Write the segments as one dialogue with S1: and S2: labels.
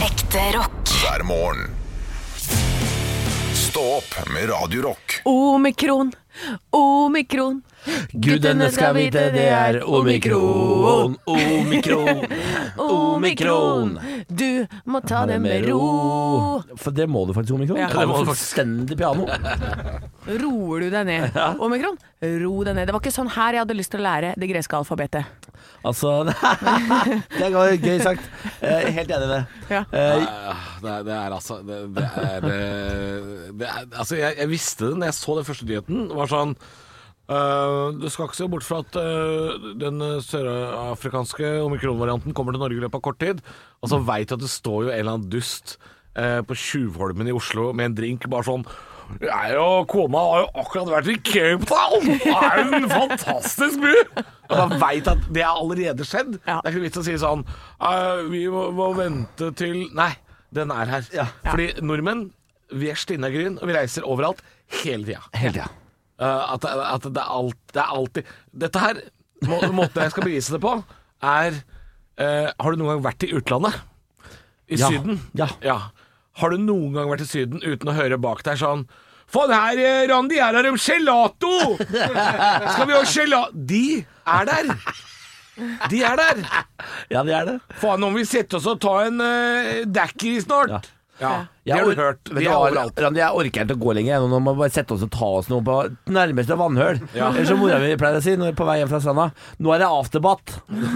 S1: Ekte rock.
S2: hver morgen. Stå opp med Radio Rock.
S3: Omikron, omikron.
S4: Gudene skal vite det er omikron, omikron, omikron.
S3: Du må ta det med ro.
S4: For det må du faktisk, omikron.
S3: Ja,
S4: Ja,
S3: det
S4: det
S3: må du
S4: fullstendig piano.
S3: Roer du deg ned? Omikron, ro deg ned. Det var ikke sånn her jeg hadde lyst til å lære det greske alfabetet.
S4: Altså Det var gøy sagt. Eh, Helt enig i det.
S3: Ja.
S4: Eh,
S5: Ah, Det er, det er altså det, det er, eh, det er, Altså, jeg, jeg visste det når jeg så den første nyheten. Det var sånn eh, Du skal ikke se bort fra at eh, den eh, sørafrikanske omikron-varianten kommer til Norge i løpet av kort tid. Og så veit du at det står jo en eller annen dust eh, på Tjuvholmen i Oslo med en drink bare sånn jeg og kona har jo akkurat vært i Cape Town! Det er jo en fantastisk by! Og man veit at det er allerede skjedd.
S3: Ja.
S5: Det er ikke noe vits å si sånn «Eh, Vi må, må vente til Nei, den er her. Fordi nordmenn, vi er stinna gryn, og vi reiser overalt hele tida.
S4: Hele tida.
S5: Eh, at at det, er alt, det er alltid Dette her, må, måten jeg skal bevise det på, er eh, Har du noen gang vært i utlandet? I
S4: Ja.
S5: Syden?
S4: Ja.
S5: Har du noen gang vært i Syden uten å høre bak deg sånn Faen her, eh, Randi, her har de gelato! Skal vi ha gelato De er der! De er der!
S4: Ja, det er det.
S5: Faen, nå må vi sette oss og ta en uh, Dacky snart.
S4: Ja.
S5: Ja.
S4: Jeg
S5: Det har
S4: or-
S5: du hørt.
S4: Vet
S5: De
S4: du
S5: er
S4: hva,
S5: overalt.
S4: Randi, jeg orker ikke å gå lenger. Nå må vi bare sette oss og ta oss noe på nærmeste vannhøl. Eller som mora mi pleier å si når på vei hjem fra stranda, nå er det afterbat.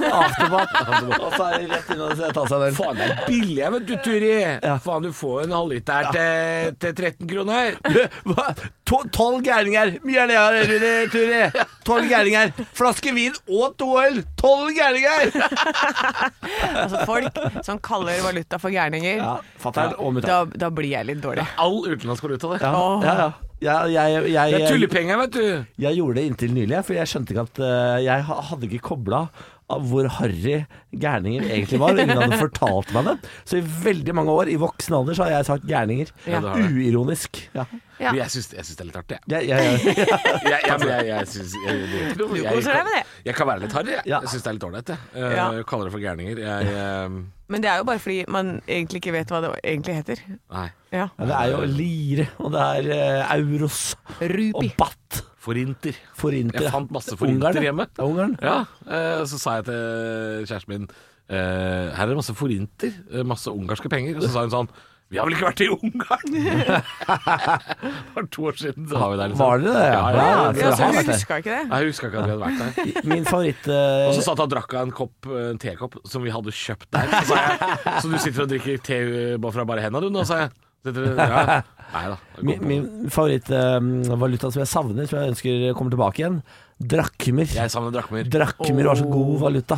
S4: Afterbat. og så er det rett inn og ta seg en øl.
S5: Faen, det er billig, jeg vet du, Turi. Faen, du får en halvliter til, til 13 kroner.
S4: Hva? To, tolv gærninger! Mye er det jeg har, Rune Turi. Tolv gærninger. Flaske vin og to øl. Tolv gærninger!
S3: Altså folk som kaller valuta for gærninger,
S4: Ja, fatter'n og mutter'n.
S3: da, da blir jeg litt dårlig.
S5: All utenlandsk valuta, det.
S4: Ja, ja, ja. Jeg, jeg,
S5: Det er
S4: jeg, jeg,
S5: tullepenger, vet du.
S4: jeg gjorde det inntil nylig, for jeg skjønte ikke at eh, Jeg ha- hadde ikke kobla av hvor harry gærninger egentlig var. og Ingen hadde fortalt meg det. Så i veldig mange år, i voksen alder, så har jeg sagt gærninger.
S3: Ja, det
S5: har du.
S4: Uironisk. Ja.
S3: Ja.
S5: Men Jeg syns jeg syns det er litt artig, jeg.
S4: Jeg, jeg, jeg,
S5: Jeg, jeg, men jeg, jeg, syns- jeg, det er ikke noe- jeg,
S3: koser deg med det.
S5: kan, jeg kan være litt harry, jeg.
S4: Ja.
S5: Jeg syns det er litt ålreit, jeg. Eh,
S3: Ja.
S5: jeg Kaller det for gærninger. Jeg eh,
S3: Men det er jo bare fordi man egentlig ikke vet hva det egentlig heter.
S5: Nei.
S3: Ja.
S4: ja, det er jo lire, og det er eh, euros og
S3: Rupi.
S4: batt.
S5: Forinter.
S4: Forinter.
S5: Jeg fant masse forinter
S4: Ungarn, ja.
S5: hjemme.
S4: Ja, Ungarn.
S5: Ja, eh, så sa jeg til kjæresten min eh, Her er det masse forinter, eh, masse ungarske penger. Og så sa hun sånn Vi har vel ikke vært i Ungarn? det var to år siden, så har vi det. Liksom.
S4: Var det det?
S5: Ja, ja, ja.
S4: Ja,
S3: Ja,
S4: det
S3: så
S4: har vært
S3: jeg
S4: det.
S3: huska ikke det.
S5: Nei, Jeg huska ikke at vi hadde vært der.
S4: Min favoritt
S5: Og
S4: eh,
S5: så satt han og drakk av en kopp, eh, en tekopp som vi hadde kjøpt der. Så, sa jeg, så du sitter og drikker te eh, bare fra bare henda, du nå, sa jeg. Sitter- Ja. Nei da. det går
S4: Min,
S5: på.
S4: min favorittvaluta som jeg savner, som jeg ønsker kommer tilbake igjen, drakmer.
S5: Jeg Mm. savner drakmer.
S4: Drakmer var så god valuta.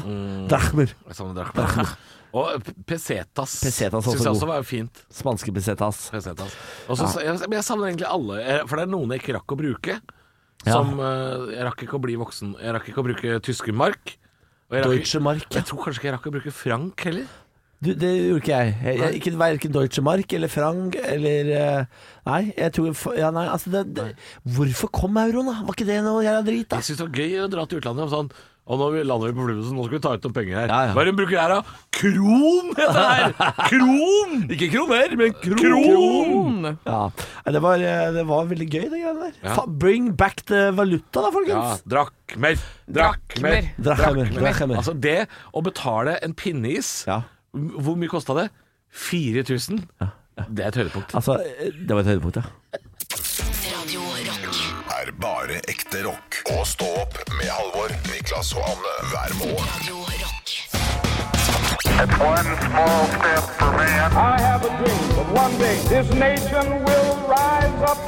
S4: Drakmer.
S5: Jeg savner drakmer. Og p- pesetas.
S4: Pesetas også
S5: Synes jeg
S4: god.
S5: også var fint.
S4: Spanske pesetas.
S5: Pesetas. altså. Og så- jeg, men jeg savner egentlig alle, eh, for det er noen jeg ikke rakk å bruke.
S4: Ja.
S5: Som eh, Jeg rakk ikke å bli voksen. Jeg rakk ikke å bruke tyske mark. Og jeg, rakk,
S4: Deutsche Mark. ja.
S5: jeg tror kanskje ikke jeg rakk å bruke frank heller.
S4: Du, det gjorde ikke jeg. jeg, jeg ikke, verken Deutsche Mark eller frank eller eh, Nei, jeg tror fa- ja, nei, altså det, det, Hvorfor kom euroen, da? Var ikke det noe jævla drit, da?
S5: Jeg syns det var gøy å dra til utlandet og sånn og nå lander vi på Flusen, nå skal vi ta ut noen penger her.
S4: Ja, ja.
S5: Hva er det hun bruker her, da? Kron heter det her! Kron!
S4: Ikke kroner, men kron!
S3: Kron!
S4: Ja. Nei, Det, var, eh, det var veldig gøy, det greiene der.
S5: Ja.
S4: Fa, bring back the valuta, da,
S5: Ja,
S4: folkens!
S5: drakmer, drakmer,
S3: Drakmer.
S4: Drakmer, drakmer.
S5: Altså det å betale en pinneis,
S4: Ja.
S5: hvor mye kosta det? 4000? Det er et høydepunkt.
S4: Altså, eh, det var et høydepunkt, ja.
S1: Radio Rock.
S2: Er bare ekte rock. Og stå opp med Halvor, Niklas og Anne hver morgen.
S1: Radio Rock.
S6: One small step for man.
S7: I have a dream that one day this nation will rise up.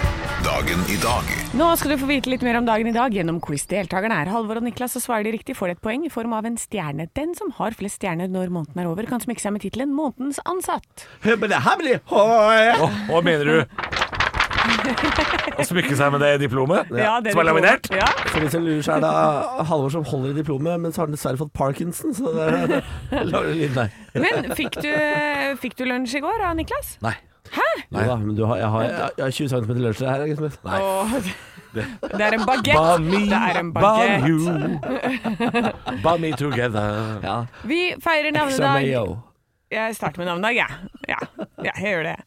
S2: Dagen i dag.
S3: Nå skal du få vite litt mer om dagen i dag gjennom quiz. Deltakerne er Halvor og Niklas, og svarer de riktig får de et poeng i form av en stjerne. Den som har flest stjerner når måneden er over, kan smykke seg med tittelen 'Månedens ansatt'.
S5: Og, og mener du å smykke seg med det diplomet som er laminert?
S3: Ja.
S4: For de som lurer, så er det eh, Halvor som holder i diplomet, men så har han dessverre fått parkinson, så det er lager lyd der.
S3: Men fikk du, fikk du lunsj i går av Niklas?
S5: Nei.
S4: Jo da, men du har, jeg, har, jeg har 20 cm lunsj her. Liksom. Nei.
S3: Åh, det, det er en bagett.
S5: Bami,
S3: Det er en bagett.
S5: you. Bami together.
S4: Ja.
S3: Vi feirer
S4: Som
S3: navnedag.
S4: er yo.
S3: Jeg starter med navnedag, jeg. Ja. Ja, jeg gjør det.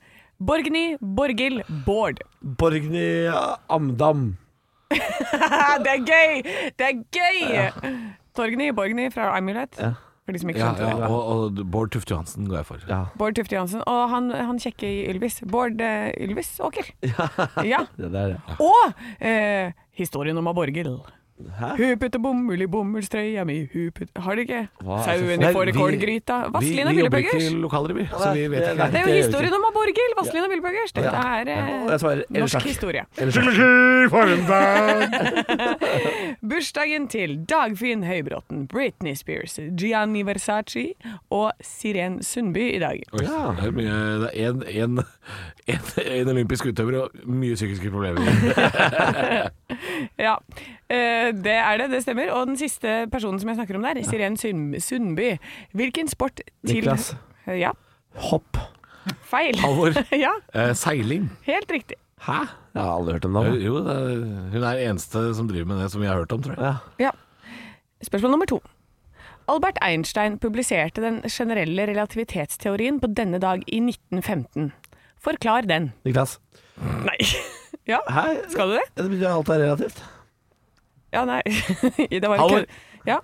S3: Borgny, Borghild, Bård.
S4: Borgny Amdam.
S3: Ah, det er gøy! Det er gøy! Torgny, Borgny fra Amulet. For de som ikke
S5: Ja,
S3: skjønte
S5: ja,
S3: det.
S5: og, og Bård Tufte Johansen går jeg for.
S4: Ja.
S3: Bård Tufte Johansen. Og han, han kjekke i Ylvis. Bård eh, Ylvis Åker. Ja.
S4: Det der, ja.
S3: Og eh, historien om Borghild. Hun putter bomull i bomullstrøya mi, hun putter Har de ikke?
S4: Hva er det
S3: Sauen i
S4: for-
S3: fårikålgryta.
S5: Vi,
S3: Vazelina
S5: vi jobber ikke i
S3: Billepøggers.
S5: lokalrevy, så vi vet
S4: det-
S5: ikke.
S3: Det er
S4: det
S3: jo
S4: gjør vi
S3: historien om Borghild. Vazelina Billepøggers. Dette er
S4: Og jeg
S3: eh,
S4: svarer eller
S3: norsk
S4: sjakk.
S3: historie.
S4: Eller sjakk.
S3: Bursdagen til Dagfinn Høybråten, Britney Spears, Gianni Versace og Siren Sundby i dag.
S5: Oi, det er mye Det er en, en, en, en olympisk utøver og mye psykiske problemer.
S3: Ja, eh, det er det. Det stemmer. Og den siste personen som jeg snakker om der, Siren Sund- Sundby. Hvilken sport til
S4: Niklas.
S3: Ja,
S4: Hopp.
S3: feil.
S5: Halvor.
S3: ja,
S5: Eh, seiling.
S3: helt riktig.
S5: Hæ?
S4: Jeg har aldri hørt om det.
S5: Jo, Jo, det er, hun er eneste som driver med det som vi har hørt om, tror jeg.
S4: Ja.
S3: Ja. Spørsmål nummer to. Albert Einstein publiserte den generelle relativitetsteorien på denne dag i 1915. Forklar den.
S4: Niklas.
S3: Nei. Ja,
S4: Hæ?
S3: skal du det?
S4: Det betyr at alt er relativt.
S3: Ja, nei. Det var et
S5: Halvor.
S3: kødd- Ja,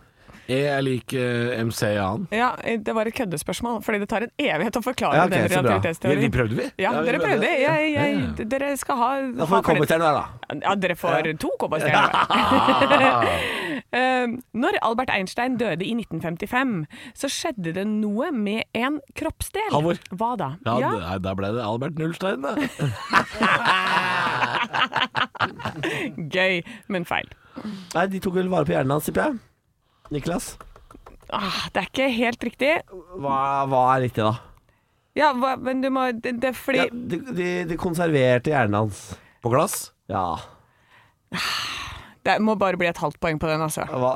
S5: E er lik eh, MC Jan.
S3: ja, eh, det var et køddespørsmål, fordi det tar en evighet å forklare
S4: Ja, ok,
S3: den
S4: så bra.
S5: Vi,
S3: relativitetsteorien.
S5: vi prøvde, vi.
S3: Ja,
S4: Ja, vi
S3: dere
S4: prøvde.
S3: prøvde. Jeg, jeg,
S5: Ja,
S3: d- Dere skal ha,
S4: Da
S3: ha
S4: får vi komme
S3: kred-
S4: til den her, da.
S3: Ja, dere får to kobberstjerner. um, når Albert Einstein døde i 1955, så skjedde det noe med en kroppsdel.
S5: Halvor.
S3: Hva da?
S5: Ja, det- Da ble det Albert Nullstein, da.
S3: Gøy, men feil.
S4: Nei, de tok vel vare på hjernen hans, tipper jeg. Niklas.
S3: Ah, det er ikke helt riktig.
S4: Hva, hva er riktig, da?
S3: Ja, hva, men du må det, det er fordi
S4: Ja, de, de, de konserverte hjernen hans.
S5: På glass.
S4: Ja.
S3: Det må bare bli et halvt poeng på den, altså.
S4: Hva?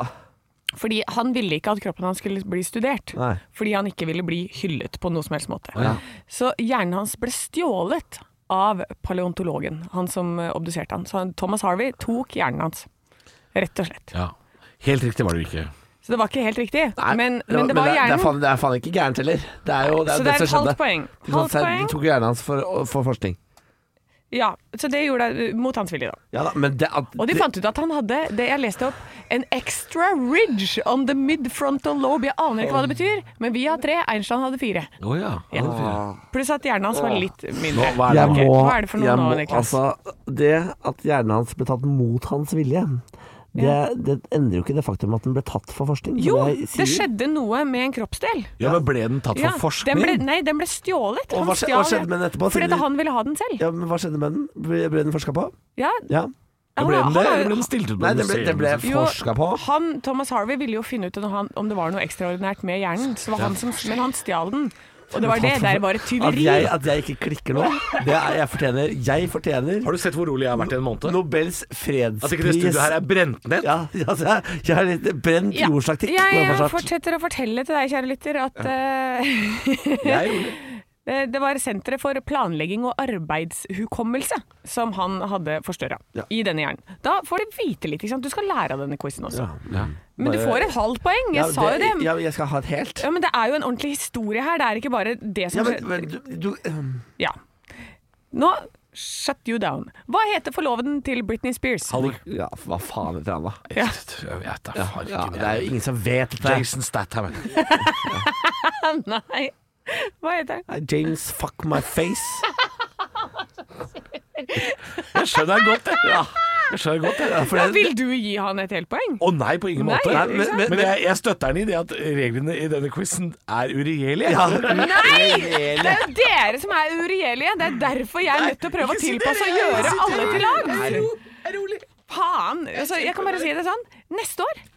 S3: Fordi han ville ikke at kroppen hans skulle bli studert.
S4: Nei.
S3: Fordi han ikke ville bli hyllet på noe som helst måte.
S4: Ja.
S3: Så hjernen hans ble stjålet av paleontologen, han som eh, obduserte han. Så han, Thomas Harvey tok hjernen hans. Rett og slett.
S5: Ja. Helt riktig var det ikke.
S3: Så det var ikke helt riktig,
S4: Nei,
S3: men, men det var
S4: det, er
S3: hjernen.
S4: faen, det er faen ikke gærent heller. Det er jo det,
S3: så
S4: er
S3: det
S4: det
S3: er
S4: som
S3: et
S4: skjedde.
S3: halvt poeng.
S4: De,
S3: Halvt
S4: konser-
S3: poeng.
S4: de tok hjernen hans for, for forskning.
S3: Ja, så det gjorde det eh, mot hans vilje, da.
S4: Ja da, men det at
S3: Og de fant ut at han hadde det jeg leste opp, en extra ridge on the midfrontal lobe. Jeg aner ikke hva det betyr, men vi har tre, Einstein hadde fire.
S5: Å ja.
S3: Ja. Pluss at hjernen hans var litt mindre.
S5: Nå, hva er det
S4: jeg
S5: nå?
S3: Ok,
S4: må,
S3: hva er det for noe
S4: jeg
S3: nå,
S4: må,
S3: Niklas?
S4: Altså, det at hjernen hans ble tatt mot hans vilje, det, det endrer jo ikke det faktum at den ble tatt for forskning. som
S3: Jo,
S4: jeg sier.
S3: det skjedde noe med en kroppsdel.
S5: ja, men ble den tatt
S3: Ja,
S5: for forskning?
S3: Den ble, nei, den ble stjålet.
S4: Og hva skje- hva skjedde med den etterpå?
S3: Fordi
S4: Siden-
S3: at han ville ha den selv.
S4: Ja, men Hva skjedde med den? Ble, ble den forska på?
S3: Ja,
S4: Ja.
S3: han-
S5: Ble den
S3: han-
S5: det, eller ble den liksom? stilt ut på
S4: Nei,
S5: et
S4: det ble, det
S5: museum?
S4: ble
S3: jo,
S4: forska på.
S3: Han, Thomas Harvey ville jo finne ut om, han, om det var noe ekstraordinært med hjernen, så var han som, men han stjal den. Og det var det. Der var et
S4: At jeg,
S3: tyveri.
S4: at jeg ikke klikker nå, det er jeg fortjener. Jeg fortjener
S5: Har du sett hvor rolig jeg har vært i en måned?
S4: Nobels fredspris.
S5: At ikke det studioet her er brent ned?
S4: ja, ja, så jeg, jeg har litt brent
S3: Ja.
S4: jordstaktikk.
S3: Jeg,
S4: må jeg få
S3: jeg
S4: sagt.
S3: fortsetter å fortelle til deg, kjære lytter, at eh,
S5: Jeg er rolig.
S3: Eh, Det var Senteret for planlegging og arbeidshukommelse som han hadde forstørra i denne hjernen. Da får du vite litt. Ikke sant? Du skal lære av denne quizen også. Men du
S4: Bare-
S3: får et halvt poeng. Jeg
S4: Ja,
S3: sa jo det.
S4: Ja, men jeg skal ha et helt.
S3: Ja, men det er jo en ordentlig historie her. Det er ikke bare det som
S4: Ja, men,
S3: skjer-
S4: men du, du ehm,
S3: Ja. Nå shut you down. Hva heter forloveden til Britney Spears?
S4: Ja, hva faen heter han, da?
S5: Jeg vet da farken,
S4: Ja,
S5: jeg.
S4: det er jo ingen som vet det.
S5: Jason Statham.
S3: Nei. Hva heter han?
S4: Nei, James fuck my face.
S5: Jeg skjønner det godt, jeg. Jeg skjønner godt, jeg.
S4: For
S3: Ja,
S4: det-
S3: vil du gi han et helt poeng?
S5: Å nei, på ingen
S3: Nei,
S5: måte.
S3: Nei,
S5: men
S4: men- men-
S5: jeg, jeg støtter den i det at reglene i denne quizen er uregjerlige.
S4: ja.
S3: Nei! Det er jo dere som er uregjerlige. Det er derfor jeg er nødt til å prøve å
S5: ikke si
S3: tilpasse og
S5: dere, jeg
S3: gjøre
S5: sitter
S3: alle til
S5: her.
S3: lag. Faen. Altså, jeg kan bare si det sånn. Neste år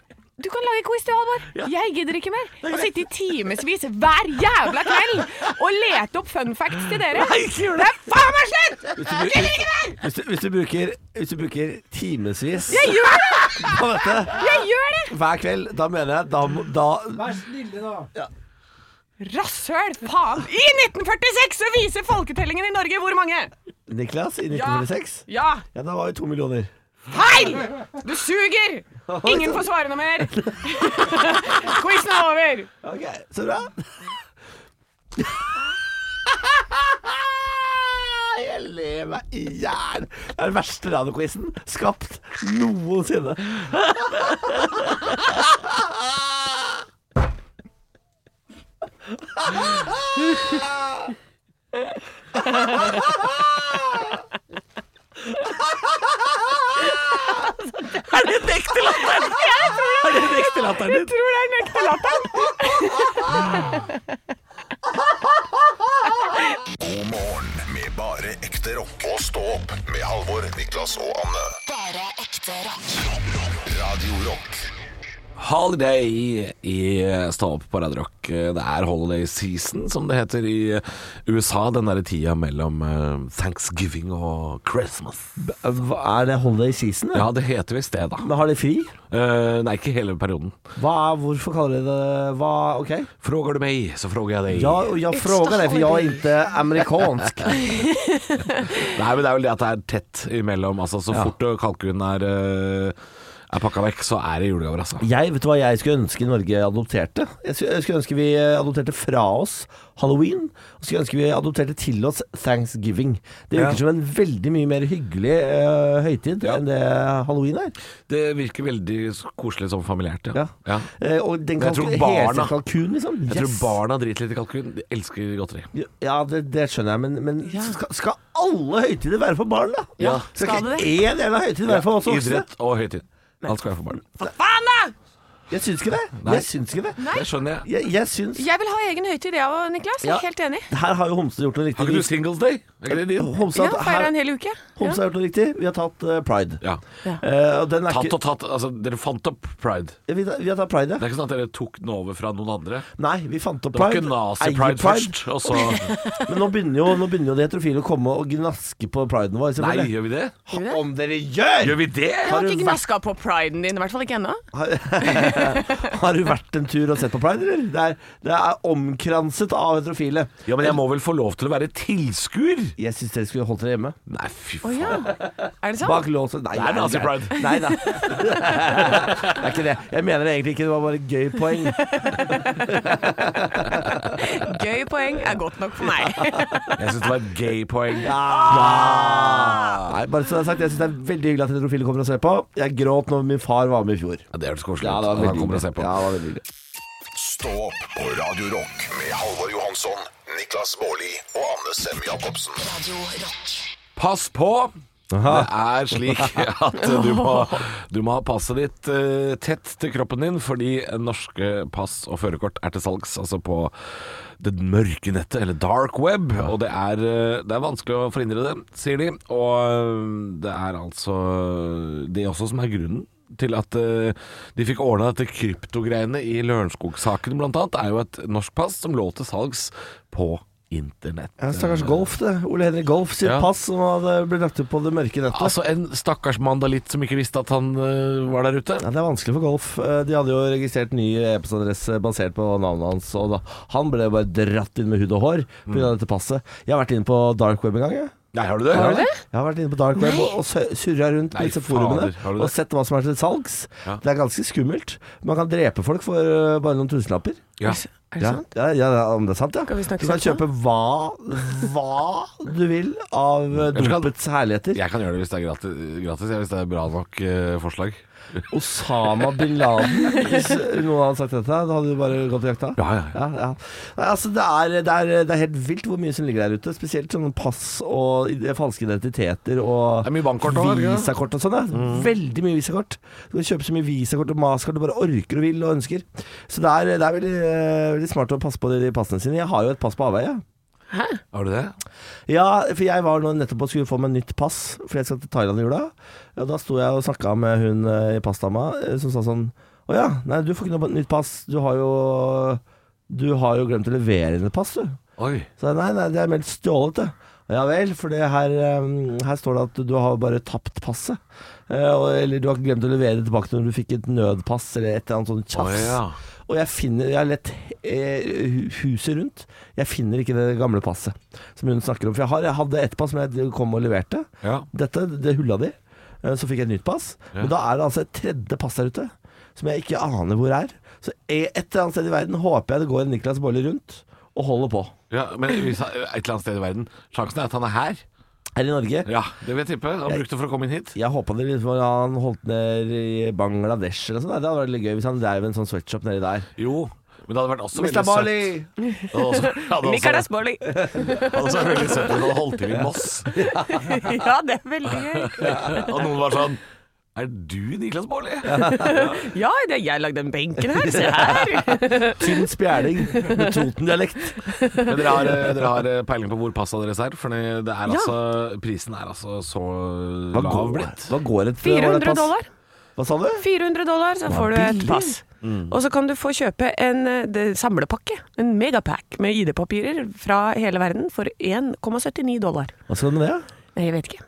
S3: du kan lage quiz, du, Halvor. Jeg gidder ikke mer å sitte i timevis hver jævla kveld og lete opp fun facts til dere. Det er faen meg slutt! Jeg gidder ikke mer!
S4: Hvis, du, hvis, du bruker, hvis du bruker timevis
S3: Jeg gjør det!
S4: på dette
S3: Jeg gjør det!
S4: hver kveld, da mener jeg da, må- da
S3: Rasshøl, faen. I 1946 så viser folketellingen i Norge hvor mange.
S4: Niklas, i 1946
S3: Ja,
S4: Ja, da var jo to millioner.
S3: Feil! Du suger! Ingen får svare noe mer. Quizen er over.
S4: Ok, så bra. le meg i hjel. Det er den verste radioquizen skapt noensinne. Er det den ekte latteren? Er det den ekte latteren din?
S3: Tror det er den ekte latteren.
S2: God morgen med bare ekte rock. Og stå opp med Halvor, Niklas og Anne.
S1: Bare ekte rock.
S2: Radio Rock.
S5: Holiday i Stå opp på Radio Rock. Det er holiday season, som det heter i USA. Den derre tida mellom eh, thanksgiving og Christmas.
S4: Hva er det holiday season?
S5: Ja, det heter visst det, da.
S4: Men har de fri?
S5: Eh, nei, ikke hele perioden.
S4: Hva er, hvorfor kaller de det hva, Ok.
S5: Frågar du meg, så frågar jeg deg.
S4: Jeg, jeg frågar det, for jeg er ikke amerikansk.
S5: Nei, men det er vel det at det er tett imellom. Altså, så
S4: Ja.
S5: fort kalkunen er, eh, er pakka vekk, så er det julegaver, altså.
S4: Jeg, vet du hva jeg skulle ønske Norge adopterte? Jeg skulle, jeg skulle ønske vi eh, adopterte fra oss halloween. Og skulle ønske vi adopterte til oss thanksgiving. Det virker
S5: Ja.
S4: som en veldig mye mer hyggelig eh, høytid
S5: Ja.
S4: enn det halloween er.
S5: Det virker veldig koselig som familiært, ja.
S4: Ja. Eh, og den
S5: Men jeg
S4: kalk
S5: tror barna-
S4: hese kalkun, liksom.
S5: Jeg tror
S4: Yes.
S5: barna driter litt i kalkun. De elsker godteri.
S4: Ja, det, det skjønner jeg, men, men skal, skal alle høytider være for barn, da?
S5: Ja.
S3: Skal
S4: Skal ikke
S3: det det?
S4: én jævla høytid være for oss voksne?
S5: Idrett og høytid. Alt skal jeg få barn.
S3: Faen, da!
S4: Jeg syns ikke det.
S5: Nei.
S4: Jeg syns ikke det.
S5: Det skjønner jeg.
S4: Jeg, jeg syns
S3: Jeg vil ha egen høytid, jeg òg, Niklas. Jeg
S4: Ja.
S3: er helt enig.
S4: Her har jo Homse gjort noe
S5: Har ikke
S4: riktig.
S5: du Singles Day? Er ikke det din?
S4: Homse,
S3: Ja,
S4: har-
S3: Feira en
S4: her,
S3: hel uke.
S4: Homse har gjort noe riktig. Vi har tatt eh, pride.
S5: Ja.
S4: Eh, og den er
S5: Tatt
S4: ikke,
S5: og tatt. Altså, dere fant opp pride.
S4: vi, tar- vi har tatt pride,
S5: Det
S4: ja.
S5: er ikke sånn at dere tok den over fra noen andre.
S4: Nei, vi fant opp
S5: Det var
S4: pride.
S5: ikke
S4: eier
S5: nazi-pride først, og så
S4: Men nå begynner, jo, nå begynner jo de heterofile å komme og gnaske på priden vår.
S5: Nei,
S4: selvfølgelig.
S5: gjør vi det?
S4: Om dere gjør!
S5: Gjør vi det?
S3: Jeg har
S4: du
S3: ikke gnaska på priden din, i hvert fall ikke ennå.
S4: Har du vært en tur og sett på pride, eller? Det er, det er omkranset av heterofile.
S5: Ja, men jeg må vel få lov til å være tilskuer?
S4: Jeg syns dere skulle holdt dere hjemme.
S5: Nei, fy
S3: Å
S5: faen.
S3: ja. Er det sant?
S4: Bak lås og Nei,
S5: Det er
S4: nei,
S5: nazi-pride.
S4: nei. Nei da. Det er ikke det. Jeg mener det egentlig ikke, det var bare et gøy poeng.
S3: Gøy poeng er godt nok for meg.
S5: Jeg syns det var et gay poeng.
S4: Ah! Nei, bare så det er sagt, jeg syns det er veldig hyggelig at heterofile kommer og ser på. Jeg gråt når min far var med i fjor.
S5: Ja, det hørtes koselig ut. Han kommer og ser på.
S4: Ja, det var veldig hyggelig.
S2: Stå opp på Radio Rock med Halvor Johansson, Niklas Baarli og Anne Sem Jacobsen.
S1: Radio Rock.
S5: Pass på! Det er slik at du må, du må ha passet ditt eh, tett til kroppen din, fordi norske pass og førerkort er til salgs altså på det mørke nettet, eller dark web. Og det er, eh, det er vanskelig å forhindre det, sier de. Og eh, det er altså det også som er grunnen til at eh, de fikk ordna dette kryptogreiene i Lørenskog-saken blant annet, er jo et norsk pass som lå til salgs på internett.
S4: Ja, Stakkars Golf, det. Ole Henrik Golf sitt
S5: Ja.
S4: pass som hadde blitt lagt ut på det mørke nettet.
S5: Altså en stakkars mandalitt som ikke visste at han øh, var der ute.
S4: Ja, det er vanskelig for Golf. Eh, De hadde jo registrert ny e-postadresse basert på navnet hans. Og da, han ble bare dratt inn med hud og hår pga. dette passet. Jeg har vært inne på dark web en gang. Jeg,
S5: Nei, har du det?
S4: Ja. jeg har vært inne på dark web og, og sø- surra rundt på
S5: Nei,
S4: disse
S5: fader,
S4: forumene
S5: har du det?
S4: og sett hva som er til salgs.
S5: Ja.
S4: Det er ganske skummelt. Man kan drepe folk for eh, bare noen tusenlapper.
S5: Ja.
S3: Er det
S4: Ja,
S3: sant?
S4: ja, ja, om det er sant, ja.
S3: Skal vi snakke
S4: du kan
S3: sant
S4: kjøpe hva, hva du vil av eh,
S5: Eller skal-
S4: dopets herligheter.
S5: Jeg kan gjøre det hvis det er gratis, gratis jeg, hvis det er bra nok øh, forslag.
S4: Osama bin Laden Hvis noen hadde sagt dette, da hadde du bare gått og jakta?
S5: Ja, ja, ja.
S4: Nei, altså, det, er, det, er, det er helt vilt hvor mye som ligger der ute. Spesielt sånne pass og ide- falske identiteter og
S5: Det er mye bankkort også, er det Mm. ikke det?
S4: visakort og sånn. Ja. Veldig mye visakort. Du kan kjøpe så mye visakort og maskort du bare orker og vil og ønsker. Så det er, det er veldig, eh, veldig smart å passe på de, de passene sine. Jeg har jo et pass på avveie.
S5: Har du det?
S4: Ja, for jeg var nå nettopp og skulle få meg nytt pass, for jeg skal til Thailand i jula. Og da sto jeg og snakka med hun eh, i passdama, eh, som sa sånn Å ja, nei, du får ikke noe nytt pass. Du har jo Du har jo glemt å levere inn et pass, du.
S5: Oi.
S4: Så jeg, nei, nei, det er meldt stjålet, det. Ja vel, for det her, eh, her står det at du har bare tapt passet. Eh, og, eller du har glemt å levere det tilbake når du fikk et nødpass eller et eller annet sånt tjafs.
S5: Å, ja.
S4: Og jeg finner Jeg har lett eh, hu- huset rundt. Jeg finner ikke det gamle passet som hun snakker om. For jeg, har, jeg hadde ett pass som jeg kom og leverte.
S5: Ja.
S4: Dette, det hulla de. Eh, Så fikk jeg et nytt pass.
S5: Ja.
S4: Men da er det altså et tredje pass der ute, som jeg ikke aner hvor er. Så e- et eller annet sted i verden håper jeg det går en Niklas Baarli rundt og holder på.
S5: ja. Men hvis han, et eller annet sted i verden Sjansen er at han er her.
S4: her i Norge.
S5: Ja, det vil jeg tippe. Han brukte for å komme inn hit.
S4: Jeg håpa det liksom, han holdt ned i Bangladesh eller noe sånt. Det hadde vært litt gøy hvis han drev en sånn sweatshop nedi der.
S5: Jo, men det hadde vært også
S4: Mr.
S5: veldig
S4: Bali!
S5: søtt. Det hadde også- det hadde også-
S3: Michael Asborli.
S5: det hadde også vært veldig søtt hvis han hadde holdt til i Moss.
S3: Ja, det er veldig gøy.
S5: Og noen var sånn Er du Niklas Baarli?
S3: Ja, det er jeg lagde den benken her. Se her.
S4: Tynn spjæling med Toten-dialekt.
S5: Men dere har, eh, dere har peiling på hvor passa deres er? For det er altså Prisen er altså så lav blitt.
S4: hva går et var det
S3: 400
S4: pass?
S3: dollar.
S4: Hva sa du?
S3: 400 dollar, så får du et
S4: billig.
S3: pass. Og så kan du få kjøpe en eh, det- samlepakke, en megapack med ID-papirer fra hele verden for 1,79 dollar.
S4: Hva skal du med det?
S3: Nei, jeg vet ikke.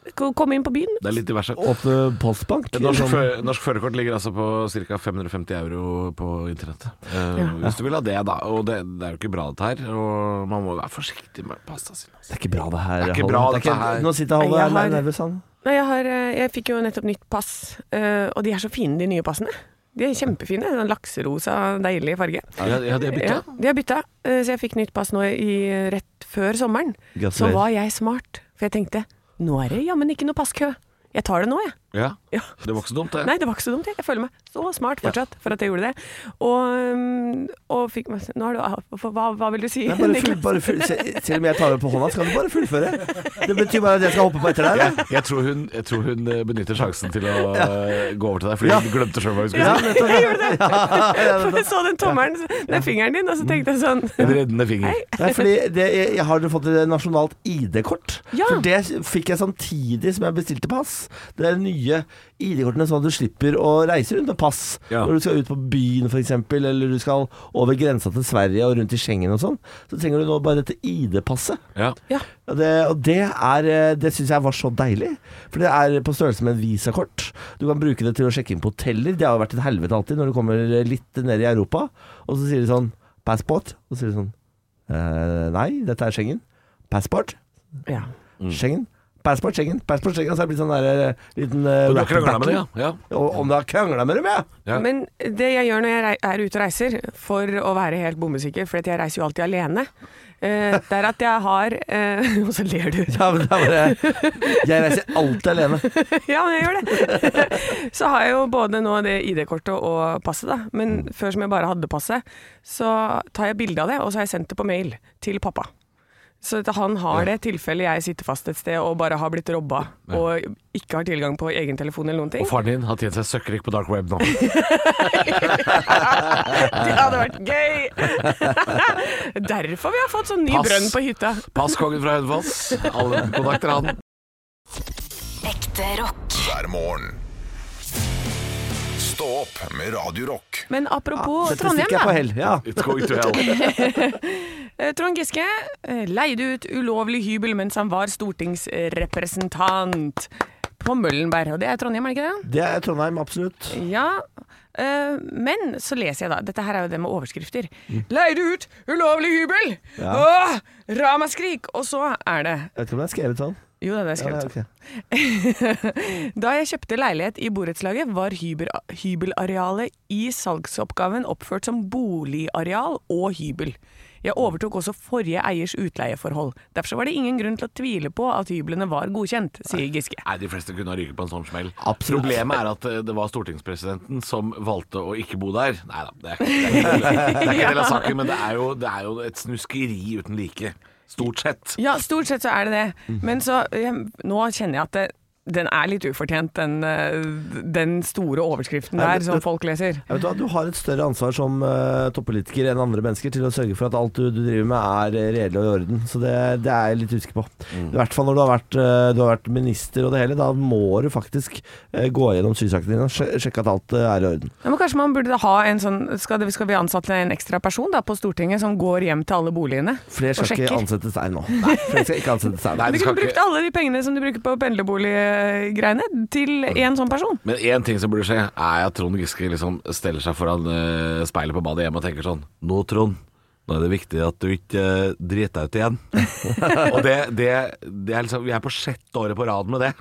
S3: Skal du Komme inn på byen.
S5: Det er litt diverse.
S4: Åpne postbank?
S5: Et Norsk, fø- norsk førerkort ligger altså på ca. 550 euro på internett. Eh, Hvis du vil ha det, da. Og det, det er jo ikke bra dette her. Og man må være forsiktig med pasta sin. Altså.
S4: Det er ikke bra, det her.
S5: Det er ikke
S4: Halvor.
S5: bra,
S4: Det er
S5: dette her.
S4: Nå sitter Halvor
S3: Jeg
S4: her
S3: har-
S4: nervøs, han.
S3: Nei, jeg, har, eh, jeg fikk jo nettopp nytt pass, eh, og de er så fine, de nye passene. De er kjempefine. Den lakserosa, deilige farge.
S5: Ja, ja, det er bytta.
S3: Ja, de har bytta, eh, så jeg fikk nytt pass nå i, eh, rett før sommeren. Så
S4: Gratulerer.
S3: var jeg smart, for jeg tenkte nå er det jammen ikke noe passkø. Jeg tar det nå, jeg.
S5: Ja.
S3: Ja.
S5: Det var ikke så dumt, det.
S3: Nei, det var ikke så dumt. jeg. Jeg føler meg så smart fortsatt for at jeg gjorde det. Og, um, og fikk meg Nå er du hva, hva vil du si?
S4: Nei, bare full,
S3: Niklas?
S4: bare full. Se- Selv om jeg tar det på hånda, skal du bare fullføre. Det betyr bare at jeg skal hoppe på etter deg. da.
S5: Jeg, jeg, tror hun, jeg tror hun eh, benytter sjansen til å eh, gå over til deg, fordi hun glemte sjøl hva hun skulle
S4: Ja,
S5: si.
S4: nettopp.
S3: For jeg så den tommelen, den fingeren din, og
S4: Mm.
S3: så tenkte jeg sånn
S5: En reddende finger.
S4: Nei, fordi det, jeg, jeg har fått et nasjonalt ID-kort.
S3: Ja.
S4: For det fikk jeg samtidig som jeg bestilte pass. Det er nye ID-kortene sånn at du slipper å reise rundt med pass.
S5: Ja.
S4: Når du skal ut på byen f.eks., eller du skal over grensa til Sverige og rundt i Schengen og sånn, så trenger du nå bare dette ID-passet.
S5: Ja.
S3: Ja.
S4: Og det, og det, er, eh, det syns jeg var så deilig. For det er på størrelse med en visakort. Du kan bruke det til å sjekke inn på hoteller. Det har jo vært et helvete alltid når du kommer eh, litt ned i Europa. Og så sier de sånn 'passport'. Og så sier de sånn eh, 'nei, dette er Schengen'. 'Passport'.
S3: Ja.
S4: Schengen. Passport, Schengen, passport, Schengen. Og så er det blitt sånn der eh, liten eh,
S5: Du har krangla
S4: battle.
S5: med det, ja? ja.
S4: Og om du har krangla med dem, ja!
S5: Ja.
S3: Men det jeg gjør når jeg rei- er ute og reiser, for å være helt bombesikker, for at jeg reiser jo alltid alene, eh, det er at jeg har eh, Og så ler du.
S4: ja men det er bare, jeg reiser alltid alene.
S3: Ja, men jeg gjør det. Så har jeg jo både nå det ID-kortet og passet, da. Men
S4: Mm.
S3: før som jeg bare hadde passet, så tar jeg bilde av det, og så har jeg sendt det på mail til pappa. Så at han har det i tilfelle jeg sitter fast et sted og bare har blitt robba og ikke har tilgang på egen telefon eller noen ting.
S5: Og faren din har tjent seg søkkrik på dark web nå.
S3: Det hadde vært gøy! Derfor vi har fått sånn ny
S5: Pass.
S3: brønn på hytta.
S5: Passkongen fra Hønefoss. Alle kontakter han.
S1: Ekte rock.
S2: hver morgen. Stå opp med Radio Rock.
S3: Men apropos
S4: Dette
S3: Trondheim,
S4: stikker jeg på
S3: da.
S4: hell. Ja.
S5: It's going to hell.
S3: Eh, Trond Giske eh, leide ut ulovlig hybel mens han var stortingsrepresentant på Møllenberg. Og det er Trondheim, er det ikke det?
S4: Det er Trondheim, absolutt.
S3: Ja, eh, men så leser jeg da Dette her er jo det med overskrifter. Leide ut ulovlig hybel! Åh, ramaskrik! Og så er det
S4: Jeg vet ikke om det er skrevet sånn.
S3: Jo, det er det jeg
S4: Ja,
S3: skrev.
S4: det er ok.
S3: Da jeg kjøpte leilighet i borettslaget, var hyber, hybelarealet i salgsoppgaven oppført som boligareal og hybel. Jeg overtok også forrige eiers utleieforhold. Derfor var det ingen grunn til å tvile på at hyblene var godkjent, sier Giske.
S5: Nei, de fleste kunne ha ryket på en sånn smell.
S4: Absolutt.
S5: Problemet er at eh, det var stortingspresidenten som valgte å ikke bo der. Nei da, det er ikke det er ikke det er ikke en del av saken, men det er, jo, det er jo et snuskeri uten like. Stort sett.
S3: Ja, stort sett så er det
S4: Mhm.
S3: det. Men så jeg, Nå kjenner jeg at det, den er litt ufortjent, den, eh, den store overskriften
S4: Nei,
S3: der
S4: det-
S3: som
S4: det-
S3: folk leser.
S4: Jeg vet hva, Du har et større ansvar som eh, toppolitiker enn andre mennesker til å sørge for at alt du, du driver med er eh, redelig og i orden. Så det, det er jeg litt usikker på. I hvert fall når du har, vært, eh, du har vært minister og det hele. Da må du faktisk eh, gå gjennom sysakene dine og sj- sjekke at alt eh, er i orden.
S3: Ja, Men kanskje man burde ha en sånn Skal, det, skal vi ansette en ekstra person da på Stortinget som går hjem til alle boligene?
S4: Flere
S3: Og
S4: skal ikke
S3: sjekker.
S4: ansettes her nå. Nei, flere skal ikke ansettes her.
S5: Nei,
S3: Du
S5: det
S3: kunne
S5: skal
S3: brukt
S5: ikke
S3: alle de pengene som du bruker på pendlerboliggreiene, til
S5: Hm.
S3: én sånn person.
S5: men én ting som burde skje, er at Trond Giske liksom steller seg foran eh, speilet på badet hjemme og tenker sånn Nå, Trond, nå er det viktig at du ikke eh, driter deg ut igjen. og det, det, det er liksom Vi er på sjette året på rad med det.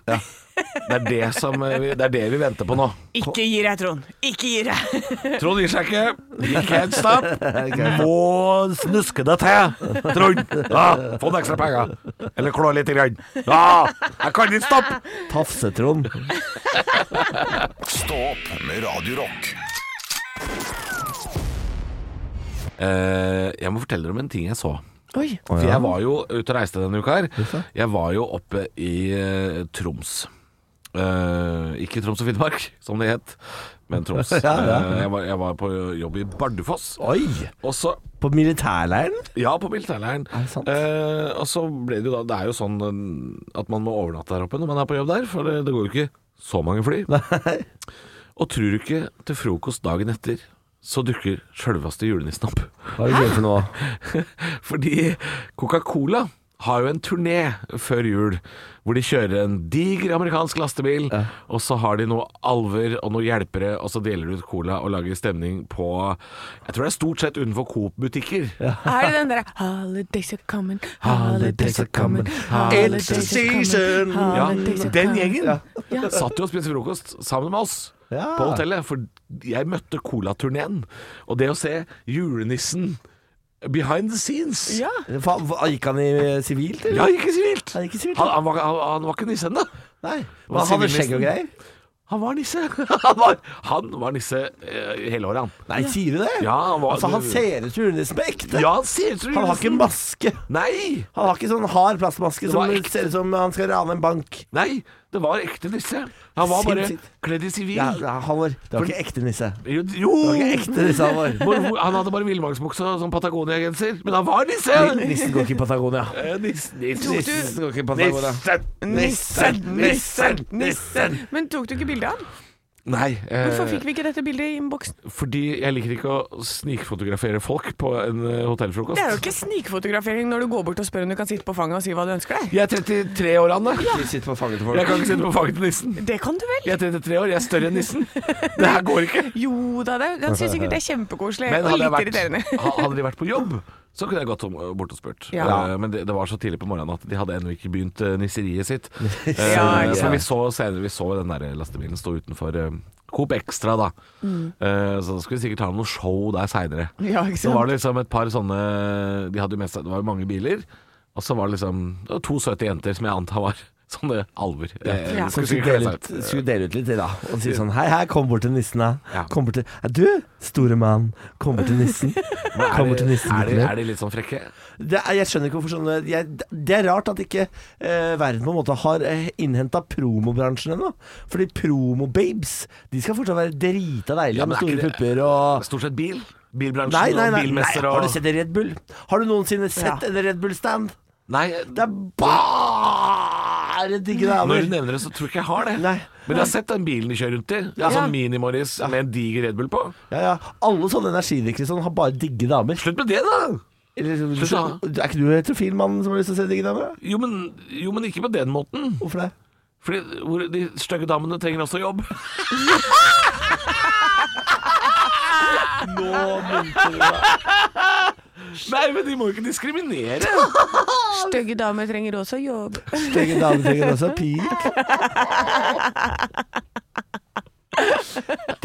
S5: Det er det, som, eh, vi- det er det vi venter på nå.
S3: Ikke gi deg, Trond. Ikke gi deg.
S5: Trond gir seg ikke. You can't stop. Må snuske det til, Trond. Ja, få noen ekstra penger. Eller klå litt. Grann. Ja, jeg kan ikke stoppe.
S4: Tafsetrond.
S2: Stå opp med Radio Rock.
S5: Eh, jeg må fortelle dere om en ting jeg så.
S3: Oi.
S5: For jeg var jo ute og reiste denne uka her. Jeg var jo oppe i eh, Troms. Eh, ikke Troms og Finnmark, som det het, men Troms.
S4: ja.
S5: Eh, jeg, var, jeg var på jobb i Bardufoss.
S4: Oi!
S5: Og så
S4: På militærleiren?
S5: Ja, på militærleiren.
S4: Er det sant?
S5: Eh, og så ble det jo da Det er jo sånn eh, at man må overnatte der oppe når man er på jobb der, for det, det går jo ikke så mange fly.
S4: Nei.
S5: Og tror du ikke til frokost dagen etter så dukker sjølveste julenissen opp.
S4: Hva er det gøy for noe?
S5: Fordi Coca-Cola har jo en turné før jul hvor de kjører en diger amerikansk lastebil, og så har de noe alver og noe hjelpere, og så deler de ut cola og lager stemning på Jeg tror det er stort sett utenfor Coop-butikker.
S3: Er det den derre Holidays are coming, holidays are coming, holidays are coming,
S5: Ja,
S3: holidays are
S5: den
S3: coming.
S5: gjengen satt jo og spiste frokost sammen med oss
S4: Ja.
S5: på hotellet. For jeg møtte Cola-turneen, og det å se julenissen behind the scenes
S3: Ja.
S4: Fa- hva- Gikk han i eh, sivilt, eller?
S5: Ja, ikke sivilt!
S4: Han gikk i sivilt.
S5: Han, han, var, han, han var ikke nisse ennå.
S4: Nei.
S5: Hva
S4: Hva, han hadde
S5: sivilisten?
S4: skjegg og greier?
S5: Han var nisse. Han var, han var nisse eh, hele året, han.
S4: Nei, sier du det?
S5: Ja, han var-
S4: altså, han ser ut som julenissen på ekte.
S5: Ja, han ser ut som
S4: Han har ikke
S5: julenissen.
S4: maske.
S5: Nei!
S4: Han har ikke sånn hard plastmaske
S5: Det
S4: som
S5: var ekte.
S4: ser ut som han skal rane en bank.
S5: Nei, det var ekte nisse. Han var bare
S4: Sinnssykt.
S5: kledd i sivil.
S4: Ja, ja, Halvor, det var ikke ekte nisse.
S5: Jo! jo.
S4: Det var ikke ekte nisse, Halvor.
S5: Hvor- hvor- Han hadde bare villmarksbukse og sånn Patagonia-genser, men han var nisse!
S4: Nissen går ikke i Patagonia.
S5: Eh, Nisse, nisse,
S3: Tok du-
S4: Nissen går ikke i Patagonia.
S5: Nissen, nissen, nissen!
S3: Men tok du ikke bilde av den?
S5: Nei, eh,
S3: Hvorfor fikk vi ikke dette bildet i innboksen?
S5: fordi jeg liker ikke å snikfotografere folk på en eh, hotellfrokost.
S3: Det er jo ikke snikfotografering når du går bort og spør om du kan sitte på fanget og si hva du ønsker deg.
S5: Jeg er 33 år, Anne.
S4: Vi sitter på fanget til
S5: Jeg
S4: folk.
S5: kan ikke sitte på fanget til nissen.
S3: Det kan du vel?
S5: Jeg er 33 år, jeg er større enn nissen. Det her går ikke.
S3: Jo da, det, han syns sikkert det er kjempekoselig
S5: Men
S3: og
S5: hadde, jeg
S3: litt irriterende.
S5: vært, ha- hadde de vært på jobb, så kunne jeg gått om, bort og spurt.
S3: Ja.
S5: Eh, Men det, det var så tidlig på morgenen at de hadde ennå ikke begynt eh, nisseriet sitt. Eh,
S3: Ja, ikke
S5: så
S3: sant.
S5: vi så senere vi så den der lastebilen stå utenfor eh, Coop Extra, da. Eh, så da skulle vi sikkert ha noe show der seinere.
S3: Mm. Ja, ikke
S5: Så var
S3: sant?
S5: det liksom et par sånne De hadde jo med seg Det var jo mange biler Og så var det liksom det var To søte jenter som jeg antar var Sånne alver Eh,
S3: Ja.
S4: Som skulle
S5: Skulle sikkert kle
S4: dele,
S5: seg
S4: ut,
S5: ut
S4: skulle dele ut litt, da. Og si sånn Hei, hei, kom bort til nissen, da.
S5: Ja.
S4: Kom bort til «Hei, Du, store mann. Kom bort til nissen. Kom bort til nissen.
S5: er, de,
S4: gutten min.»
S5: er de litt sånn frekke?
S4: Det er, jeg skjønner ikke hvorfor sånne jeg, Det er rart at ikke eh, verden på en måte har eh, innhenta promobransjen ennå. Fordi promobabes, de skal fortsatt være drita deilige
S5: Ja, men
S4: med
S5: er
S4: store
S5: ikke det-
S4: pupper og
S5: Stort sett bil Bilbransjen
S4: Nei, nei, nei.
S5: og
S4: nei.
S5: bilmesser
S4: Har du
S5: og
S4: sett en Red Bull? Har du noensinne sett en Red Bull-stand?
S5: Nei,
S4: Det er bare digge
S5: når du
S4: damer.
S5: nevner det så tror jeg ikke jeg har det
S4: Nei.
S5: Men jeg har sett den bilen de kjører rundt i Det
S4: Ja.
S5: er sånn mini-morris med en diger Red Bull på
S4: Ja, ja. Alle sånne energidrikkere sånn, har bare digge damer.
S5: Slutt med det da
S4: Eller, liksom,
S5: Slutt, da.
S4: er ikke du heterofil mann som har lyst til å se digge damer? da?
S5: Jo, men, jo, men ikke på den måten
S4: Hvorfor det?
S5: Fordi hvor, de stygge damene trenger også jobb
S4: Nå munter du deg.
S5: Nei, men de må jo ikke diskriminere
S3: Stygge damer trenger også jobb.
S4: Stygge damer trenger også pik.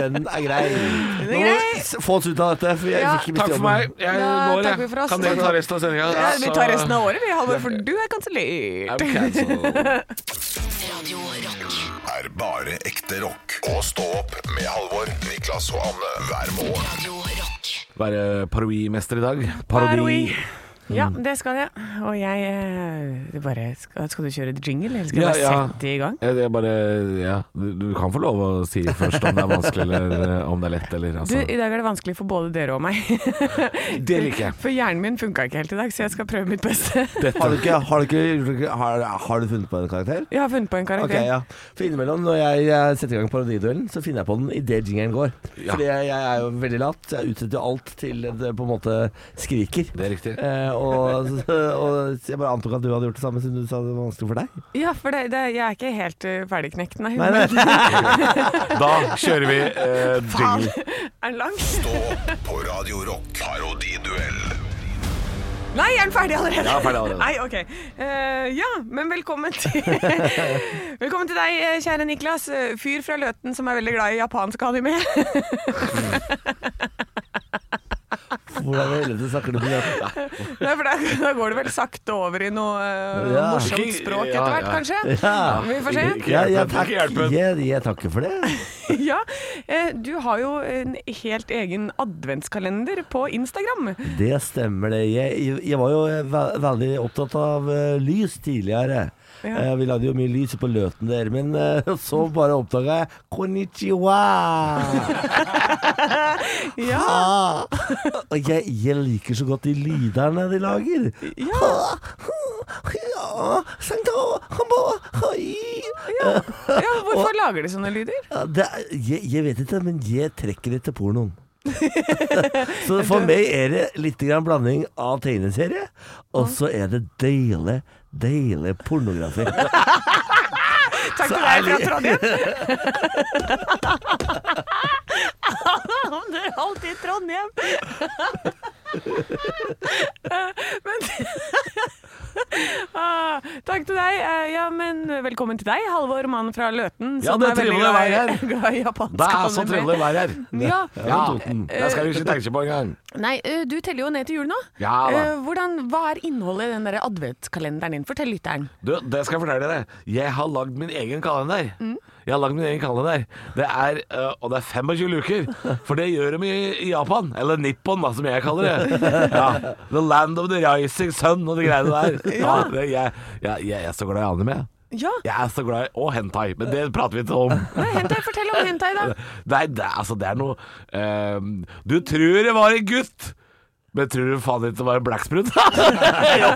S4: Den er grei. Nå må vi s- få oss ut av dette, for jeg
S3: Ja.
S4: fikk ikke
S5: Takk
S4: miste
S5: for
S4: jobben.
S5: meg. Jeg
S3: Ja,
S5: går,
S3: takk
S5: jeg.
S3: for oss.
S5: Kan dere ta resten av sendinga?
S3: Ja, vi tar
S5: Altså-
S3: resten av året, vi, Halvor, for du er kansellert.
S1: Radio Rock.
S2: Er bare ekte rock. Og stå opp med Halvor, Niklas og Anne hver morgen.
S1: Radio Rock.
S5: Være parodimester i dag. Parodi.
S3: Parodi. Ja, det skal jeg. Og jeg eh, det bare Skal, skal du kjøre jingle, eller skal
S5: Ja,
S3: jeg bare
S5: ja.
S3: sette i gang?
S5: Jeg, jeg bare, ja, du, du kan få lov å si først om det er vanskelig eller eh, om det er lett. Eller,
S3: Du,
S5: altså.
S3: I dag er det vanskelig for både dere og meg.
S5: Det liker jeg.
S3: For hjernen min funka ikke helt i dag, så jeg skal prøve mitt beste.
S4: Har du, ikke, har, du ikke, har, har du funnet på en karakter?
S3: Jeg har funnet på en karakter.
S4: Ok, ja. For innimellom når jeg eh, setter i gang parodiduellen, så finner jeg på den idet jingeren går.
S5: Ja.
S4: Fordi jeg, jeg er jo veldig lat. så Jeg utsetter jo alt til det på en måte skriker.
S5: Det er riktig.
S4: Eh, og, og jeg bare antok at du hadde gjort det samme siden du sa det var vanskelig for deg.
S3: Ja, for det, det, jeg er ikke helt uh, ferdigknekt, nei.
S4: Nei,
S3: Men
S4: nei.
S5: Da kjører vi eh,
S3: faen,
S5: jingle.
S3: er den lang?
S2: Stå opp på Radio Rock. Parodiduell.
S3: Nei, er den ferdig allerede?
S5: Ja, ferdig allerede.
S3: Nei, ok. Eh, ja, men velkommen til Velkommen til deg, eh, kjære Niklas. Eh, Fyr fra Løten som er veldig glad i japansk anime.
S4: Hvordan i helvete snakker du om det?
S3: Nei, for da, da går det vel sakte over i noe eh,
S4: Ja.
S3: morsomt språk etter
S5: Ja,
S3: hvert,
S5: ja.
S3: kanskje?
S4: Ja.
S3: Vi får se.
S5: Ikke
S4: Ja, ja,
S5: hjelpen,
S4: takk.
S5: ikke hjelpen.
S4: Jeg, jeg takker for det.
S3: Ja, eh, du har jo en helt egen adventskalender på Instagram.
S4: Det stemmer det. Jeg, jeg var jo ve- veldig opptatt av eh, lys tidligere.
S3: Ja.
S4: Eh, vi lagde jo mye lys på løten der, men eh, så bare oppdaga jeg konnichiwa!
S3: Ja,
S4: Ah. Og jeg, jeg liker så godt de lyderne de lager.
S3: ja.
S4: Ja, Sanktho, Hambo, Hai.
S3: ja hvorfor lager de sånne lyder?
S4: Ja, det er, jeg, jeg vet ikke, men jeg trekker etter pornoen. så for meg er det litt grann blanding av tegneserie, og så er det deilig, deilig pornografi.
S3: Takk til deg fra Trondheim. Det er alltid Trondheim. Men ah, Takk til deg. Eh, Ja, men velkommen til deg, Halvor, mann fra Løten.
S5: Ja,
S3: som
S5: det er
S3: er veldig
S5: trivelig å
S3: glad i-
S5: være her.
S3: Glad i japansk
S5: Det er så
S3: anime.
S5: trivelig vær her.
S3: Ja.
S5: Ja, det skal vi ikke tenke på engang.
S3: Nei, ø, du teller jo ned til jul nå.
S5: Ja da.
S3: Ø, Hvordan, hva er innholdet i den der adventskalenderen din? Fortell lytteren.
S5: Du, det skal jeg fortelle dere. Jeg har lagd min egen kalender. Jeg har lagd min egen kalender. Det er, øh, og det er 25 luker. For det gjør de i, i Japan. Eller Nippon, da, som jeg kaller det. Ja. The land of the rising sun og de greiene der. Ja, det, jeg, jeg, jeg er så glad i anime.
S3: Ja,
S5: Jeg er så glad i Og hentai, men det prater vi ikke om.
S3: Nei, hentai, fortell om hentai, da.
S5: Nei, det, er- altså, det er noe ehm, Du tror det var en gutt, men tror du faen ikke det var en blekksprut? jo,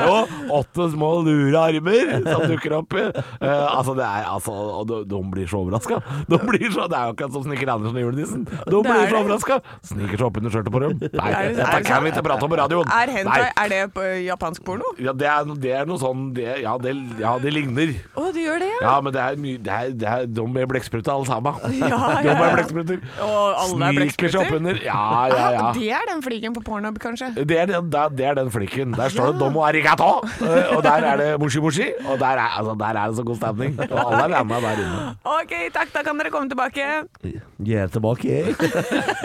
S5: jo! Åtte små lure armer som dukker opp. Eh, altså, det er altså Og de, de blir så overraska. De blir så, det er jo akkurat som Snekker Andersen og julenissen. De blir
S3: er
S5: så
S3: det.
S5: overraska. Sniker seg opp under skjørtet på dem. Nei,
S3: Er det- er
S5: dette
S3: det
S5: kan
S3: sånn?
S5: vi ikke prate om på radioen.
S3: Er hentai
S5: Nei.
S3: er det på japansk porno?
S5: Ja, det er, det er noe sånn det, ja, det, ja, det ligner.
S3: Å, du gjør det, ja?
S5: Ja, men det er mye det er, det er, De er blekkspruter alle sammen.
S3: ja,
S5: De er
S3: ja.
S5: blekkspruter.
S3: Og alle er
S5: Sniker seg
S3: blekkspruter?
S5: oppunder. Ja, ja,
S3: Ah,
S5: ja.
S3: Det er den fliken på pornhub, kanskje?
S5: Det er, den, det er- det er den flikken. Der står det 'domo arigato', eh, og der er det 'moshi moshi'. Og der er, altså, der er det så god stemning. Og alle er med der inne.
S3: OK, takk, da kan dere komme tilbake.
S4: Jeg er tilbake, jeg.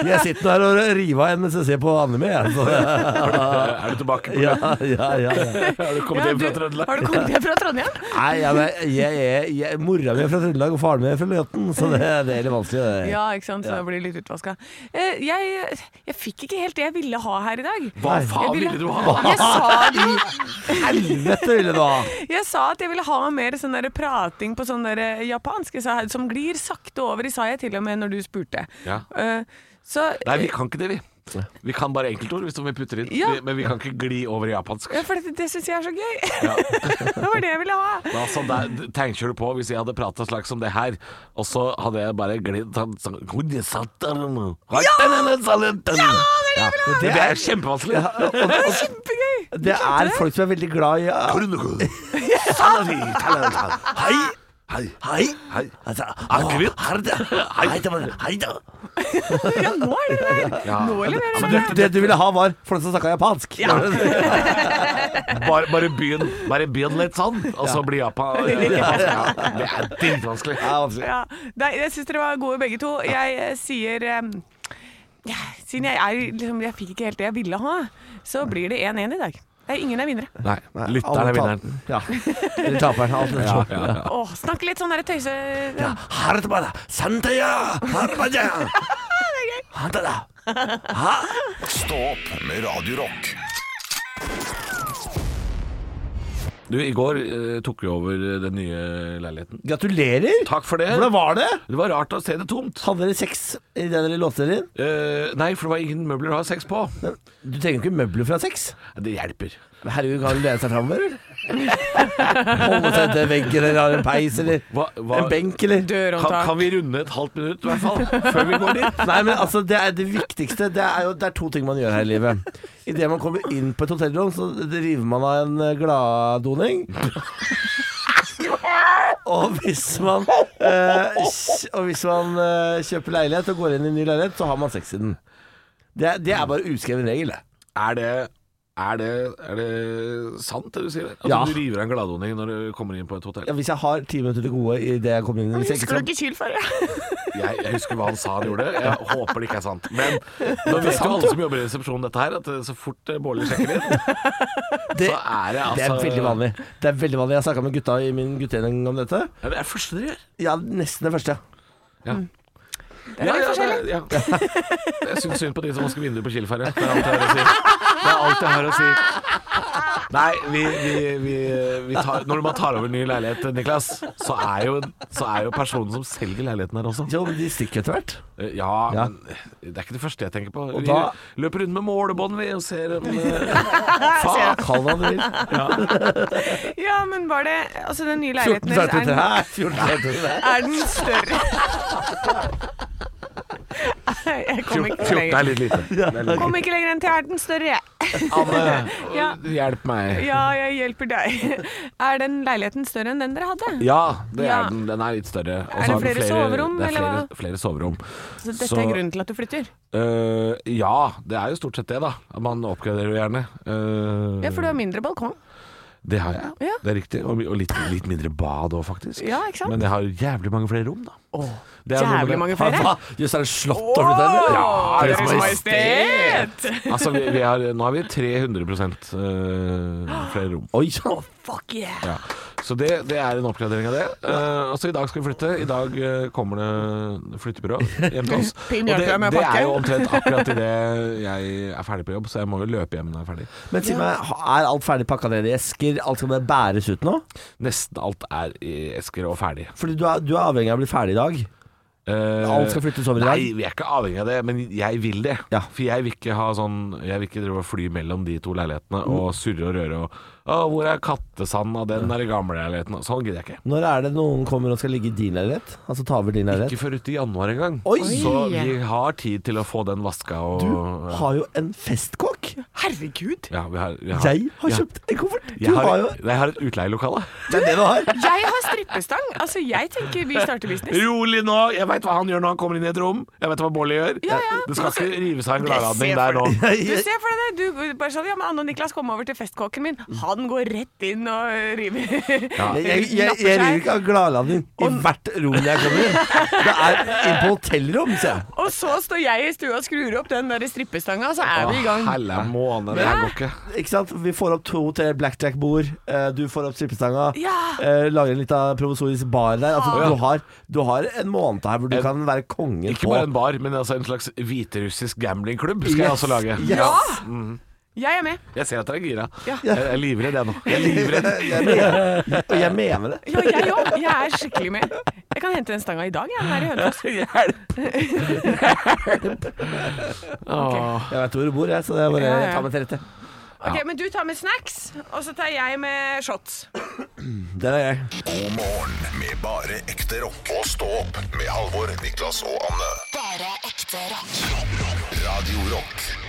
S4: Jeg sitter der og river av en mens jeg ser på anime. jeg, så-
S5: Er du tilbake på
S4: Ja,
S5: det?
S4: ja, ja. ja.
S5: Har du kommet
S3: Ja, du,
S5: hjem
S3: har
S5: fra
S3: du
S5: Trøndelag?
S3: kommet hjem fra Trondheim?
S4: Nei, ja, men jeg er jeg, Mora mi er fra Trøndelag, og faren min er fra Løten, så det, det er litt vanskelig. Det.
S3: Ja, ikke sant, så da blir det litt utvaska. Jeg, jeg fikk ikke helt det jeg ville ha her i dag.
S5: Hva
S3: Jeg
S5: faen ville du ha?
S3: Jeg sa det jo.
S4: Helvete ville du ha!
S3: Jeg sa at jeg ville ha mer sånn der prating på sånn der japansk jeg sa, som glir sakte over i, sa jeg til og med når du spurte.
S5: Ja.
S3: Eh, så
S5: Nei, vi kan ikke det, vi. Vi kan bare enkeltord hvis vi putter inn.
S3: Ja.
S5: Vi, men vi kan ikke gli over i japansk.
S3: ja, for det, det syns jeg er så gøy.
S5: Ja.
S3: det var det jeg ville ha.
S5: Men altså, der, tenker du på hvis jeg hadde prata slags som det her, og så hadde jeg bare glidd sånn sånn, Ja! Det er kjempevanskelig.
S4: Ja, og, og,
S3: Kjempegøy!
S4: det er folk som er veldig glad i Hei! Hei! Hei! Hei! Altså,
S5: Akevitt.
S4: Hei! Hei! Hei! Hei! da.
S3: Ja, nå er det der! Nå leverer
S4: Men
S3: jeg
S4: det,
S3: der.
S4: det du ville ha, var folk som snakka japansk.
S5: Bare, bare, begynn, bare begynn litt sånn, og så blir Japan japansk. Ja, det er dritvanskelig.
S4: Ja, vanskelig.
S3: Ja. Nei, jeg syns dere var gode begge to. Jeg eh, sier em, ja, Siden jeg er liksom Jeg fikk ikke helt det jeg ville ha, så blir det 1-1 i dag. Nei, ingen er vinnere.
S5: Nei, lytteren er vinneren.
S4: Ja. Eller taperen. Alt det
S5: Ja,
S4: sånn.
S5: ja, ja.
S3: Åh, snakk litt sånn der tøyse...
S4: Ja. Her er det bare Santaya! Her er det bare Her er det da.
S2: Stå opp med Radio Rock.
S5: Du, i går eh, tok vi over den nye leiligheten.
S4: Gratulerer!
S5: Takk for det.
S4: Hvordan var det?
S5: Det var rart å se det tomt.
S4: Hadde dere sex i det dere låste dere inn?
S5: Eh, nei, for det var ingen møbler å ha sex på.
S4: Du trenger jo ikke møbler fra sex.
S5: Det hjelper.
S4: Herregud, kan du lene seg framover, eller? Holde seg til veggen, eller har en peis, eller
S5: Hva- hva-
S4: en benk, eller
S5: Kan,
S3: Dørhåndtak.
S5: kan vi runde et halvt minutt, i hvert fall? Før vi går dit?
S4: Nei, men altså, det, er det viktigste det er, jo, det er to ting man gjør her i livet. Idet man kommer inn på et hotellrom, så river man av en eh, gladdoning. Og hvis man, eh, kj- og hvis man eh, kjøper leilighet og går inn i en ny leilighet, så har man sex i den. Det, er- det er bare uskreven regel, det.
S5: Er det Er det, er det sant, det du sier? der? At
S4: Ja.
S5: du river av en gladhonning når du kommer inn på et hotell?
S4: Ja, hvis jeg har ti minutter til gode idet jeg kommer inn hvis jeg ikke sånn.
S3: Husker
S4: skal-
S3: du ikke Kyl før, ja?
S5: Jeg, jeg husker hva han sa han gjorde. Jeg håper det ikke er sant. Men nå vet jo alle som jobber i resepsjonen dette her, at eh, så fort eh, Bårli sjekker inn,
S4: det,
S5: så er det altså
S4: det er veldig vanlig. Det er veldig vanlig Jeg snakka med gutta i min guttegjeng om dette.
S5: Ja, det er det første dere gjør.
S4: Ja, nesten det første. ja.
S5: Ja, ja, det- ja. Jeg syns synd på de som vasker vinduer på Kiel-ferja. Det er alt jeg har å si. Det er alt jeg har å si. Nei, vi, vi, vi, vi tar, når man tar over ny leilighet, Niklas, så er jo, så er jo personen som selger leiligheten her også.
S4: Jo, men de stikker etter hvert.
S5: Eh, Ja,
S4: Ja.
S5: men det er ikke det første jeg tenker på.
S4: Og
S5: Vi
S4: da-
S5: løper rundt med målebånd, vi, og ser om eh, Faen!
S4: Kall det hva du vil.
S3: Ja, men var det Altså, den nye
S4: 14
S3: leiligheten deres, er,
S4: cm
S3: den-
S4: her, 14 cm der.
S3: er den større? Jeg kom ikke
S5: 14 er
S3: lenger.
S5: litt lite. Det er litt lite.
S3: Kom ikke lenger enn til er den større, jeg.
S5: Anne,
S3: Ja.
S5: hjelp meg.
S3: Ja, jeg hjelper deg. Er den leiligheten større enn den dere hadde?
S5: Ja, det er
S3: Ja.
S5: den. Den er litt større. Og
S3: Er
S5: så
S3: det
S5: har den
S3: flere soverom,
S5: Det er
S3: eller
S5: flere, flere soverom.
S3: Så Altså, dette
S5: Så-
S3: er grunnen til at du flytter?
S5: Eh, ja, det er jo stort sett det, da. At Man oppgraderer jo gjerne. Eh,
S3: Ja, for du har mindre balkong.
S5: Det har jeg,
S3: Ja.
S5: det er riktig. Og, og litt, litt mindre bad òg, faktisk.
S3: Ja, ikke sant?
S5: Men jeg har jo jævlig mange flere rom, da. Det er noe med
S3: Jævlig
S5: det.
S3: mange
S4: Ja,
S3: flere.
S4: da, Jøss, er det slott over den? eller?
S5: Ja,
S4: Deres
S5: Deres
S3: Majestet!
S5: Altså, vi, vi har, nå har vi 300 eh, flere rom.
S4: Oi, ja.
S3: Fuck yeah!
S5: Ja. Så det, det er en oppgradering av det. Eh, og så i dag skal vi flytte. I dag eh, kommer det flyttebyrå hjem til oss.
S3: Pinn
S5: Og det,
S3: hjelper med
S5: det
S3: pakke.
S5: er jo omtrent akkurat idet jeg er ferdig på jobb, så jeg må jo løpe hjem når jeg er ferdig.
S4: Men si meg, er alt ferdig pakka ned i esker? Alt skal bare bæres ut nå?
S5: Nesten alt er i esker og ferdig.
S4: Fordi du er, du er avhengig av å bli ferdig i dag.
S5: Eh,
S4: Alt skal flyttes over i dag.
S5: Nei, vi er ikke avhengig av det, men jeg vil det.
S4: Ja.
S5: For jeg vil ikke ha sånn Jeg vil ikke drive og fly mellom de to leilighetene og
S4: Mm.
S5: surre og røre og Å, hvor er kattesanden, og den er i gamleleiligheten og Sånn gidder jeg ikke.
S4: Når er det noen kommer og skal ligge i din leilighet? Altså ta over din leilighet?
S5: Ikke før uti januar engang.
S4: Oi!
S5: Så vi har tid til å få den vaska og
S4: Du har jo en festkokk!
S3: Herregud!
S5: ja, vi har, vi har,
S4: Jeg har
S5: ja.
S4: kjøpt en koffert! Du
S5: jeg har,
S4: har jo
S5: Nei, jeg har et utleielokale.
S4: Det er det du har!
S3: Jeg har strippestang. Altså, jeg tenker vi starter business.
S5: Rolig nå! Jeg veit hva han gjør når han kommer inn i et rom. Jeg veit hva Bårli gjør.
S3: Ja, ja.
S5: Det skal ikke rives av en
S3: Det ser
S5: gladladning
S3: jeg
S5: der nå.
S3: for Du ser for deg det. Du bare sånn, ja, men Anne og Niklas kom over til festkåken min. Han går rett inn og øh, river.
S4: Jeg, jeg, jeg, jeg river ikke av gladladning i hvert rom jeg kommer inn. Det er inn på hotellrom, ser jeg.
S3: Og så står jeg i stua og skrur opp den der strippestanga, så er vi i gang.
S5: Helle måne, det her går ikke.
S4: Ikke sant? Vi får opp to-tre blackjack-bord, eh, du får opp strippestanga.
S3: Ja.
S4: eh, Lager en liten provisorisk bar der. Altså, du, har, du har en måned her hvor du
S5: En-
S4: kan være kongen
S5: Ikke
S4: på
S5: bare en bar, men altså en slags hviterussisk gamblingklubb skal jeg
S4: Yes,
S5: også lage.
S4: yes.
S5: Ja.
S3: Jeg er med.
S5: Jeg ser at dere er gira.
S3: Ja.
S5: Jeg jeg er livredd, jeg nå. Jeg er livredd.
S4: Og jeg mener det.
S3: Ja, jeg òg. Jeg er skikkelig med. Jeg kan hente den stanga i dag, jeg. Den er i Hønefoss.
S5: Hjelp! Åh.
S4: Jeg vet hvor du bor, jeg, så det er bare
S3: Ja, ja.
S4: ta meg til rette.
S3: Ok, men du tar med snacks, og så tar jeg med shots.
S4: Der er jeg.
S2: God morgen med bare ekte rock. Og stå opp med Halvor, Niklas og Anne.
S1: Bare ekte rock.
S2: Radio Rock.